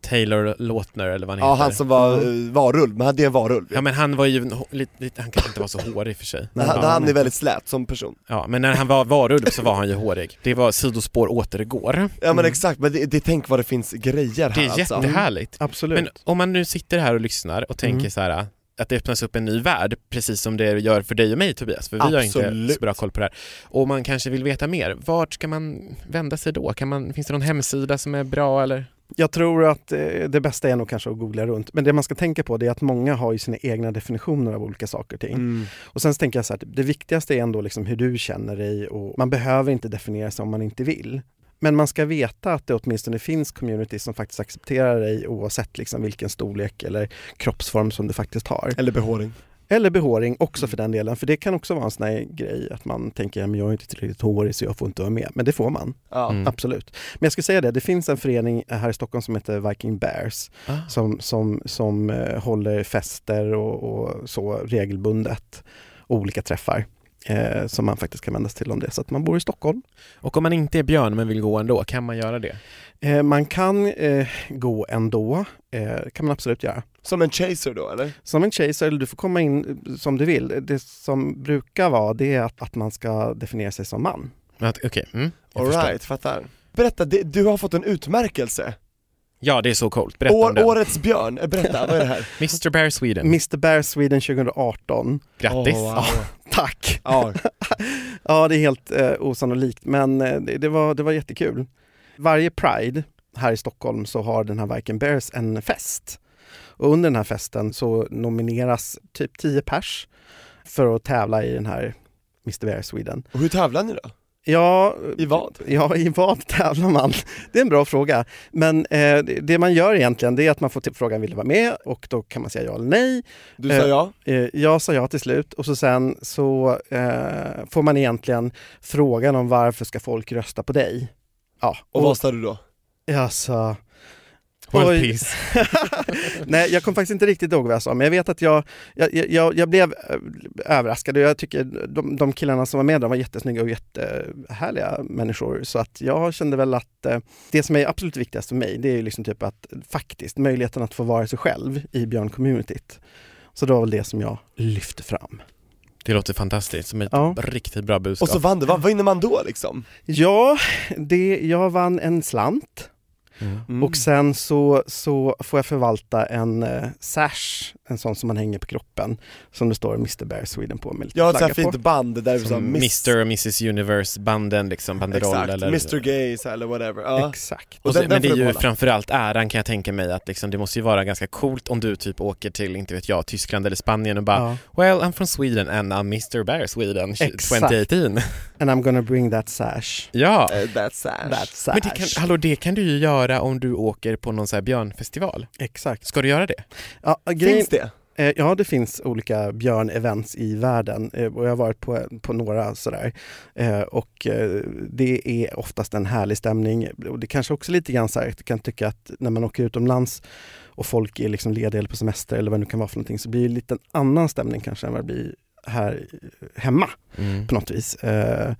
Speaker 6: Taylor Lautner eller vad han
Speaker 7: Ja,
Speaker 6: heter?
Speaker 7: han som var mm. varulv, men han- det är en varulv.
Speaker 6: Ja men han var ju, en hå- lite, lite, han kanske inte var så hårig i och för sig.
Speaker 7: Men han,
Speaker 6: ja,
Speaker 7: han är väldigt slät som person.
Speaker 6: ja, men när han var varulv så var han ju hårig. Det var sidospår återgår.
Speaker 7: Ja men exakt, men det, det, tänk vad det finns grejer här
Speaker 6: Det är
Speaker 7: alltså.
Speaker 6: jättehärligt.
Speaker 5: Absolut.
Speaker 6: Men om man nu sitter här och lyssnar och
Speaker 7: Mm.
Speaker 6: tänker så här att det öppnas upp en ny värld, precis som det gör för dig och mig Tobias, för vi har inte
Speaker 7: Absolut.
Speaker 6: så bra koll på det här. Och man kanske vill veta mer, vart ska man vända sig då? Kan man, finns det någon hemsida som är bra eller?
Speaker 5: Jag tror att eh, det bästa är nog kanske att googla runt. Men det man ska tänka på det är att många har ju sina egna definitioner av olika saker och ting. Och sen så tänker jag så här, det viktigaste är ändå liksom hur du känner dig och man behöver inte definiera sig om man inte vill. Men man ska veta att det åtminstone finns communities som faktiskt accepterar dig oavsett liksom vilken storlek eller kroppsform som du faktiskt har.
Speaker 7: Eller behåring.
Speaker 5: Eller behåring också för den delen, för det kan också vara en sån här grej att man tänker att jag är inte tillräckligt hårig så jag får inte vara med. Men det får man.
Speaker 7: Ja.
Speaker 6: Mm.
Speaker 5: Absolut. Men jag skulle säga det, det finns en förening här i Stockholm som heter Viking Bears
Speaker 7: Ah.
Speaker 5: som, som, som eh, håller fester och, och så regelbundet, olika träffar eh, som man faktiskt kan vända sig till om det är så att man bor i Stockholm.
Speaker 6: Och om man inte är björn men vill gå ändå, kan man göra det?
Speaker 5: Eh, man kan eh, gå ändå, eh, kan man absolut göra.
Speaker 7: Som en chaser då eller?
Speaker 5: Som en chaser, eller du får komma in eh, som du vill. Det som brukar vara det är att, att man ska definiera sig som man.
Speaker 6: Men att- Okej, mm, jag förstår.
Speaker 7: Alright, fattar. Berätta, det, du har fått en utmärkelse.
Speaker 6: Ja, det är så coolt. Berätta om
Speaker 7: År,
Speaker 6: den.
Speaker 7: årets björn, Eh, berätta, vad är det här?
Speaker 6: Mr Bear Sweden.
Speaker 5: Mr Bear Sweden 2018.
Speaker 6: Grattis.
Speaker 7: Åh,
Speaker 6: Ja.
Speaker 7: wow.
Speaker 5: Tack!
Speaker 7: Ja,
Speaker 5: Ja, det är helt eh, osannolikt, men eh, det, det, var, det var jättekul. Varje Pride här i Stockholm så har den här Viking Bears en fest. Och under den här festen så nomineras typ 10 pers för att tävla i den här Mr Bear Sweden.
Speaker 7: och hur tävlar ni då?
Speaker 5: Ja,
Speaker 7: I vad?
Speaker 5: Ja, i vad tävlar man? Det är en bra fråga. Men eh, det- det man gör egentligen det är att man får typ frågan vill du vara med och då kan man säga ja eller nej.
Speaker 7: Du sa
Speaker 5: Eh,
Speaker 7: ja?
Speaker 5: Eh, jag sa ja till slut och så sen så eh, får man egentligen frågan om varför ska folk rösta på dig? Ja,
Speaker 7: Och vad sa du då?
Speaker 5: jag sa...
Speaker 6: World
Speaker 5: Oj.
Speaker 6: peace.
Speaker 5: Nej, jag kommer faktiskt inte riktigt ihåg vad jag sa, men jag vet att jag, jag, jag, jag blev eh, överraskad och jag tycker de, de killarna som var med de var jättesnygga och jättehärliga människor. Så att jag kände väl att eh, det som är absolut viktigast för mig, det är ju liksom typ att eh, faktiskt möjligheten att få vara sig själv i björncommunityt. Så det var väl det som jag lyfte fram.
Speaker 6: Det låter fantastiskt, som ett
Speaker 5: Ja.
Speaker 6: riktigt bra budskap.
Speaker 7: Och så vann du, vad vinner man då liksom?
Speaker 5: Ja, det, jag vann en slant
Speaker 6: Mm.
Speaker 7: Mm.
Speaker 5: och sen så, så får jag förvalta en eh, sash, en sån som man hänger på kroppen, som det står Mr Bear Sweden på med lite
Speaker 7: Jag har ett sånt
Speaker 5: flagga
Speaker 7: här
Speaker 5: på.
Speaker 7: fint band där vi sa
Speaker 5: Mm.
Speaker 6: Som
Speaker 7: miss-
Speaker 6: Mr och Mrs Universe-banden liksom, banderoll
Speaker 7: Exakt,
Speaker 6: eller...
Speaker 7: Mr Gay så här, eller whatever. Ja.
Speaker 5: Exakt.
Speaker 6: Och
Speaker 7: Och
Speaker 6: så,
Speaker 7: den-
Speaker 6: men
Speaker 7: den
Speaker 6: det är
Speaker 7: får du
Speaker 6: ju
Speaker 7: behålla.
Speaker 6: framförallt äran kan jag tänka mig att liksom, det måste ju vara ganska coolt om du typ åker till, inte vet jag, Tyskland eller Spanien och bara
Speaker 5: Ja.
Speaker 6: Well, I'm from Sweden and I'm Mr Bear Sweden
Speaker 5: Exakt.
Speaker 6: 2018.
Speaker 5: And I'm gonna bring that sash.
Speaker 6: ja.
Speaker 7: Eh, That's sad.
Speaker 5: That sash.
Speaker 6: Men det kan, hallå, det kan du ju göra om du åker på någon så här björnfestival.
Speaker 5: Exakt.
Speaker 6: Ska du göra det?
Speaker 5: Ja,
Speaker 7: Finns det?
Speaker 5: Eh, Ja, det finns olika björnevents i världen eh, och jag har varit på, på några sådär. Eh, Och eh, det är oftast en härlig stämning. Och det kanske också lite grann så här, jag kan tycka att när man åker utomlands och folk är liksom lediga eller på semester eller vad det nu kan vara för någonting så blir det lite en annan stämning kanske än vad det blir här eh, hemma
Speaker 7: Mm.
Speaker 5: på något vis. Eh, eh,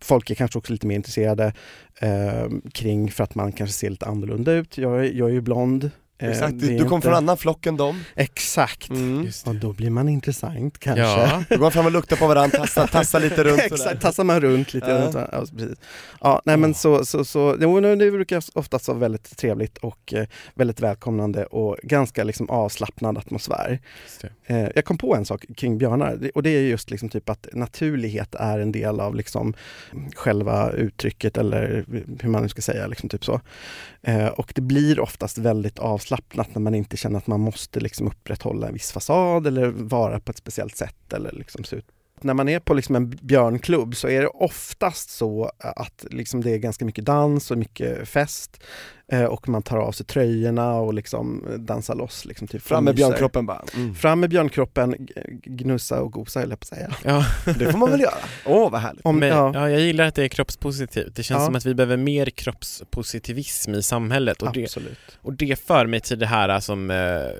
Speaker 5: Folk är kanske också lite mer intresserade eh, kring för att man kanske ser lite annorlunda ut. Jag, är- jag är ju blond. Eh,
Speaker 7: Exakt,
Speaker 5: det
Speaker 7: du,
Speaker 5: är
Speaker 7: du kom
Speaker 5: inte-
Speaker 7: från en annan flock än dem.
Speaker 5: Exakt.
Speaker 7: Mm.
Speaker 5: Och då blir man intressant kanske.
Speaker 6: Ja.
Speaker 7: Då går man fram och luktar på varandra, tassar, tassar lite runt sådär.
Speaker 5: Exakt, tassar man runt lite.
Speaker 7: Ja.
Speaker 5: runt varandra. Ja, alltså, precis. Ja, nej, men så, så, så, jo, nu- det brukar oftast vara väldigt trevligt och eh, väldigt välkomnande och ganska liksom, avslappnad atmosfär.
Speaker 6: Just det.
Speaker 5: Eh, jag kom på en sak kring björnar det- och det är just liksom typ att naturlighet är en del av liksom själva uttrycket eller hur man nu ska säga. Liksom typ så. Eh, och det blir oftast väldigt avslappnat när man inte känner att man måste liksom upprätthålla en viss fasad eller vara på ett speciellt sätt eller liksom se ut när man är på liksom en björnklubb så är det oftast så att liksom det är ganska mycket dans och mycket fest. Eh, och man tar av sig tröjorna och liksom eh, dansar loss. Liksom, typ
Speaker 7: Fram med
Speaker 5: myser.
Speaker 7: björnkroppen bara. Mm.
Speaker 5: Fram med björnkroppen, g- gnussa och gosa höll jag på att säga.
Speaker 6: Ja.
Speaker 7: Det får man väl göra? Åh vad härligt.
Speaker 5: Om,
Speaker 6: Men, ja.
Speaker 5: ja,
Speaker 6: jag gillar att det är kroppspositivt. Det känns
Speaker 5: Ja.
Speaker 6: som att vi behöver mer kroppspositivism i samhället och det,
Speaker 5: absolut.
Speaker 6: och det för mig till det här som eh,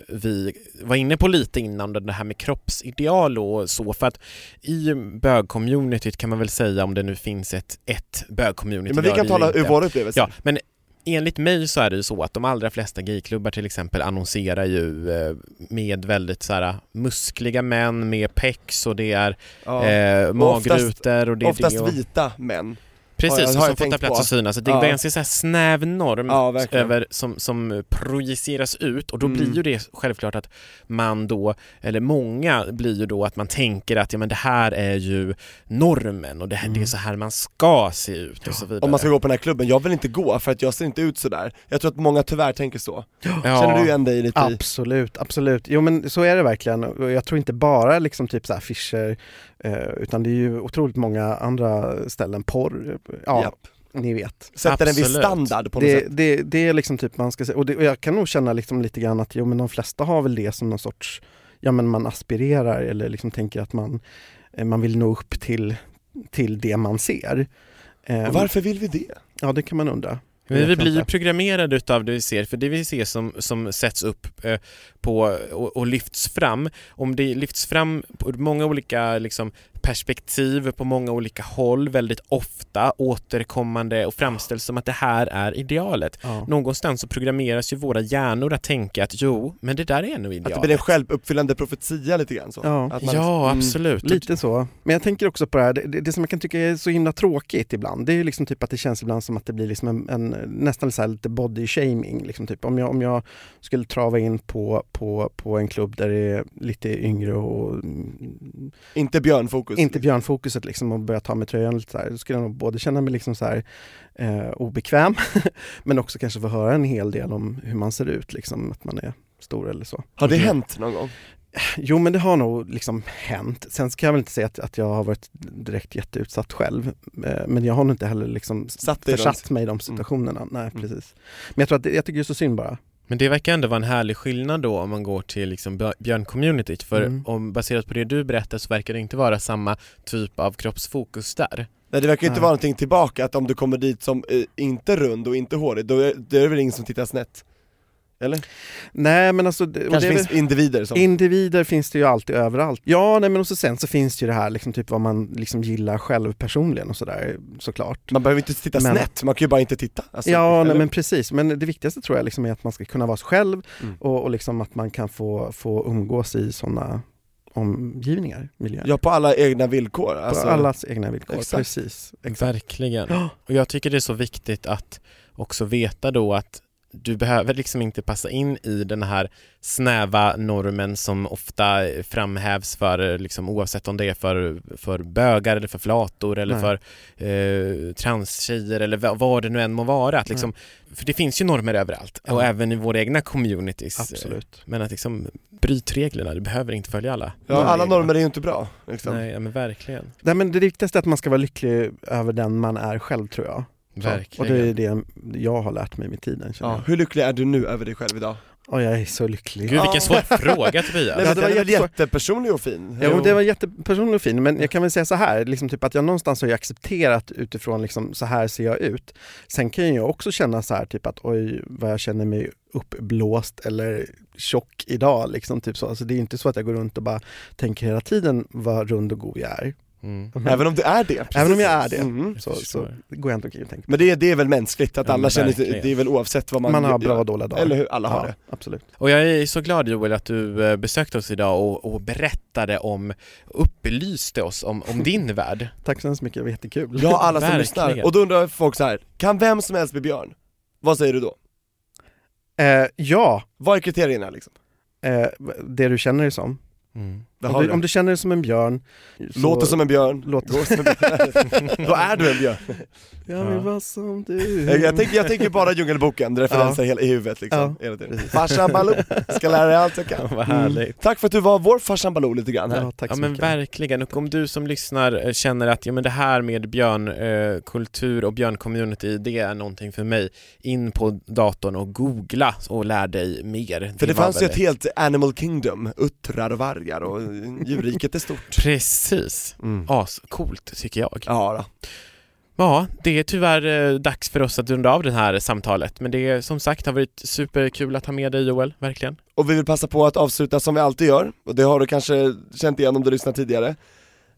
Speaker 6: vi var inne på lite innan, det här med kroppsideal och så. För att i bögcommunityt kan man väl säga, om det nu finns ett, ett bögcommunity.
Speaker 7: Men vi
Speaker 6: det
Speaker 7: kan
Speaker 6: gör det ju
Speaker 7: tala ur
Speaker 6: inte.
Speaker 7: våra upplevelser.
Speaker 6: Ja, men enligt mig så är det ju så att de allra flesta gayklubbar till exempel annonserar ju eh, med väldigt så här äh, muskliga män med pex och det är
Speaker 7: Ja.
Speaker 6: eh,
Speaker 7: Och oftast-
Speaker 6: magrutor och det är
Speaker 7: Oftast
Speaker 6: det. Och...
Speaker 7: vita män.
Speaker 6: Precis,
Speaker 7: Har jag-
Speaker 6: och
Speaker 7: har
Speaker 6: som
Speaker 7: jag
Speaker 6: får ta
Speaker 7: tänkt
Speaker 6: plats
Speaker 7: på.
Speaker 6: och synas. Det
Speaker 7: Ja.
Speaker 6: är en ganska så här snäv norm
Speaker 7: Ja, verkligen.
Speaker 6: över, som, som projiceras ut och då
Speaker 7: Mm.
Speaker 6: blir ju det självklart att man då, eller många blir ju då att man tänker att ja, men det här är ju normen och det, här, det är så här man ska se ut och så vidare.
Speaker 7: Mm. Om man ska gå på den här klubben, jag vill inte gå för att jag ser inte ut sådär. Jag tror att många tyvärr tänker så.
Speaker 6: Ja.
Speaker 7: Känner du igen dig lite i?
Speaker 5: Absolut, absolut. Jo men så är det verkligen. Och Jag tror inte bara liksom typ så här affischer, eh, utan det är ju otroligt många andra ställen. Porr, ja,
Speaker 7: Japp.
Speaker 5: ni vet.
Speaker 7: Sätter en viss
Speaker 6: Absolut.
Speaker 7: standard på något
Speaker 5: Det,
Speaker 7: sätt.
Speaker 5: det, det är liksom typ man ska säga, och, det, och jag kan nog känna liksom lite grann att jo men de flesta har väl det som någon sorts, ja men man aspirerar eller liksom tänker att man, eh, man vill nå upp till, till det man ser. Eh,
Speaker 7: Och varför vill vi det?
Speaker 5: Ja det kan man undra. Jag
Speaker 6: Men vi
Speaker 5: vet
Speaker 6: blir ju
Speaker 5: inte.
Speaker 6: programmerade utav det vi ser, för det vi ser som, som sätts upp eh, på, och, och lyfts fram, om det lyfts fram på många olika liksom, perspektiv, på många olika håll, väldigt ofta, återkommande och framställs som att det här är idealet.
Speaker 5: Ja.
Speaker 6: Någonstans så programmeras ju våra hjärnor att tänka att jo, men det där är nog
Speaker 7: Att det
Speaker 6: idealet.
Speaker 7: blir en Typ självuppfyllande profetia lite grann så?
Speaker 5: Ja.
Speaker 7: Att man-
Speaker 6: Ja,
Speaker 7: Mm.
Speaker 6: absolut.
Speaker 5: Lite så. Men jag tänker också på det här, det, det, det som jag kan tycka är så himla tråkigt ibland, det är ju liksom typ att det känns ibland som att det blir liksom en, en nästan så här lite body shaming. Liksom typ. om, jag, om jag skulle trava in på, på, på en klubb där det är lite yngre och mm,
Speaker 7: Inte björnfokus.
Speaker 5: inte björnfokuset liksom och börja ta med tröjan lite så här, då skulle jag nog både känna mig liksom så här, eh, obekväm men också kanske få höra en hel del om hur man ser ut, liksom, att man är stor eller så.
Speaker 7: Har det hänt någon gång?
Speaker 5: Jo men det har nog liksom hänt. Sen ska jag väl inte säga att, att jag har varit direkt jätteutsatt själv, eh, men jag har nog inte heller liksom s-
Speaker 7: Satt dig Mm. i
Speaker 5: försatt mig i de situationerna. Nej precis. Men jag tror att det, jag tycker det är så synd bara.
Speaker 6: Men det verkar ändå vara en härlig skillnad då om man går till liksom björ- björncommunityt, för
Speaker 5: Mm.
Speaker 6: om, baserat på det du berättar så verkar det inte vara samma typ av kroppsfokus där.
Speaker 7: Nej det verkar ju inte
Speaker 5: Nej.
Speaker 7: vara någonting tillbaka, att om du kommer dit som eh, inte rund och inte hårig, då är, då är det väl ingen som tittar snett? Eller?
Speaker 5: Nej men alltså... Det, och det
Speaker 7: Kanske
Speaker 5: är
Speaker 7: finns
Speaker 5: väl-
Speaker 7: individer som...
Speaker 5: Individer finns det ju alltid överallt. Ja, nej, men och så sen så finns det ju det här liksom, typ vad man liksom gillar själv personligen och sådär såklart.
Speaker 7: man behöver inte titta
Speaker 5: Men-
Speaker 7: snett, man kan ju bara inte titta. Alltså,
Speaker 5: Ja, nej,
Speaker 7: eller?
Speaker 5: men precis. Men det viktigaste tror jag liksom är att man ska kunna vara sig själv
Speaker 7: Mm.
Speaker 5: och, och liksom att man kan få, få umgås i sådana omgivningar, miljöer.
Speaker 7: Ja, på alla egna villkor. Alltså,
Speaker 5: på allas egna villkor,
Speaker 7: Exakt.
Speaker 5: precis.
Speaker 6: Verkligen.
Speaker 5: Ja.
Speaker 6: Och jag tycker det är så viktigt att också veta då att du behöver liksom inte passa in i den här snäva normen som ofta framhävs för, eh, liksom, oavsett om det är för, för bögar eller för flator eller
Speaker 5: Nej.
Speaker 6: för eh, transtjejer eller va- vad det nu än må vara. Att liksom, för det finns ju normer överallt
Speaker 5: Ja.
Speaker 6: och även i våra egna communities.
Speaker 5: Absolut.
Speaker 6: Men att liksom, bryt reglerna, du behöver inte följa alla.
Speaker 7: Ja, alla normer är ju inte bra. Liksom.
Speaker 6: Nej, ja, men verkligen.
Speaker 5: Nej, men det viktigaste är att man ska vara lycklig över den man är själv tror jag. Så. Och
Speaker 6: Verkligen.
Speaker 5: det är det jag har lärt mig med tiden känner
Speaker 7: Ja. Hur lycklig är du nu över dig själv idag?
Speaker 5: jag. Och jag är så lycklig.
Speaker 6: Gud vilken svår fråga
Speaker 7: Nej,
Speaker 6: Tobias.
Speaker 7: men
Speaker 5: det
Speaker 7: det
Speaker 5: var
Speaker 7: var väl
Speaker 5: jättesvår-
Speaker 7: jättepersonlig och fin?
Speaker 5: Jo, det var jättepersonlig och fin, men jag kan väl säga så här, liksom typ att jag någonstans har ju accepterat utifrån liksom, så här ser jag ut. Sen kan ju jag också känna så här typ att oj vad jag känner mig uppblåst eller tjock idag. Liksom, typ så. Alltså, det är ju inte så att jag går runt och bara tänker hela tiden vad rund och god jag är.
Speaker 6: Mm.
Speaker 7: Även om det är det. precis.
Speaker 5: Även om jag är det
Speaker 7: Mm.
Speaker 5: så, så
Speaker 6: förstår.
Speaker 5: går jag inte omkring och tänker.
Speaker 7: Men det, är- det är väl mänskligt att
Speaker 6: Ja,
Speaker 7: alla
Speaker 6: men
Speaker 7: känner,
Speaker 6: verkligen.
Speaker 7: det är väl oavsett vad man
Speaker 5: Man, har bra
Speaker 7: gör.
Speaker 5: och dåliga dagar.
Speaker 7: Eller hur, alla har
Speaker 5: ja,
Speaker 7: det.
Speaker 5: Absolut.
Speaker 6: Och jag är så glad Joel att du eh, besökte oss idag och, och berättade om, upplyste oss om, om din värld.
Speaker 5: Tack så hemskt mycket, det var jättekul.
Speaker 7: Ja, alla som
Speaker 6: Verkligen.
Speaker 7: lyssnar. Och då undrar folk så här, kan vem som helst bli björn? Vad säger du då?
Speaker 5: Eh, ja,
Speaker 7: Vad är kriterierna liksom?
Speaker 5: eh, det du känner dig som.
Speaker 7: Där har
Speaker 5: Om
Speaker 7: vi
Speaker 5: du,
Speaker 7: det.
Speaker 5: om du känner dig som en björn, så-
Speaker 7: Låter som en björn,
Speaker 5: Låter-
Speaker 7: går som en björn. Då är du en björn.
Speaker 5: jag vill vara som du.
Speaker 7: Jag, jag, tänker, jag tänker bara Djungelboken, referenser hela i huvudet liksom. hela tiden. Farsan Baloo, ska lära dig allt jag kan.
Speaker 6: Vad härligt.
Speaker 7: Tack för att du var vår farsan Baloo lite grann här.
Speaker 5: Ja, tack
Speaker 6: Ja
Speaker 5: så
Speaker 6: men
Speaker 5: mycket.
Speaker 6: verkligen, och om du som lyssnar eh, känner att ja, men det här med björnkultur eh, kultur och björncommunity, det är någonting för mig. In på datorn och googla och lär dig mer.
Speaker 7: För det
Speaker 6: var
Speaker 7: fanns ju
Speaker 6: väl
Speaker 7: ett helt Animal Kingdom, uttrar och vargar och djurriket är stort.
Speaker 6: Precis,
Speaker 7: Mm.
Speaker 6: ascoolt tycker jag.
Speaker 7: Ja, då.
Speaker 6: Ja, det är tyvärr eh, dags för oss att runda av det här samtalet, men det är som sagt har varit superkul att ha med dig Joel, verkligen.
Speaker 7: Och vi vill passa på att avsluta som vi alltid gör, och det har du kanske känt igen om du lyssnat tidigare.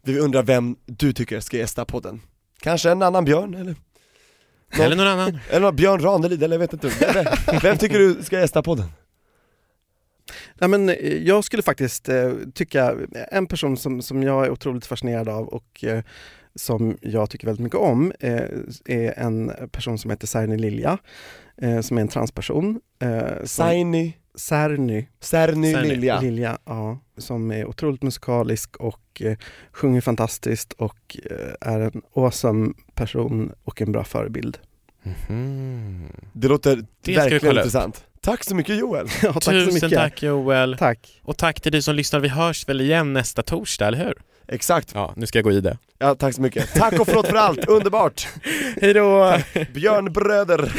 Speaker 7: Vi undrar vem du tycker ska gästa podden. Kanske en annan björn eller? Någon-
Speaker 6: Eller någon annan.
Speaker 7: Eller någon Björn Ranelid eller jag vet inte. Vem, vem tycker du ska gästa podden?
Speaker 5: Nej, men eh, jag skulle faktiskt eh, tycka, en person som, som jag är otroligt fascinerad av och eh, som jag tycker väldigt mycket om eh, är en person som heter Särny Lilja, eh, som är en transperson. Eh, som-
Speaker 7: Saini,
Speaker 5: Särny
Speaker 7: Serny,
Speaker 6: Serny.
Speaker 7: Lilja.
Speaker 5: Lilja, ja, som är otroligt musikalisk och eh, sjunger fantastiskt och eh, är en awesome person och en bra förebild.
Speaker 6: Mhm.
Speaker 7: Det låter
Speaker 6: vi
Speaker 7: verkligen
Speaker 6: kolla upp.
Speaker 7: intressant. Tack så mycket Joel.
Speaker 5: ja, tack så
Speaker 6: Tusen
Speaker 5: mycket.
Speaker 6: tack Joel.
Speaker 5: Tack.
Speaker 6: Och tack till dig som lyssnar, vi hörs väl igen nästa torsdag, eller hur?
Speaker 7: Exakt.
Speaker 6: Ja, nu ska jag gå i det.
Speaker 7: Ja, tack så mycket. Tack och förlåt för allt, underbart.
Speaker 6: Hej då!
Speaker 7: Björnbröder.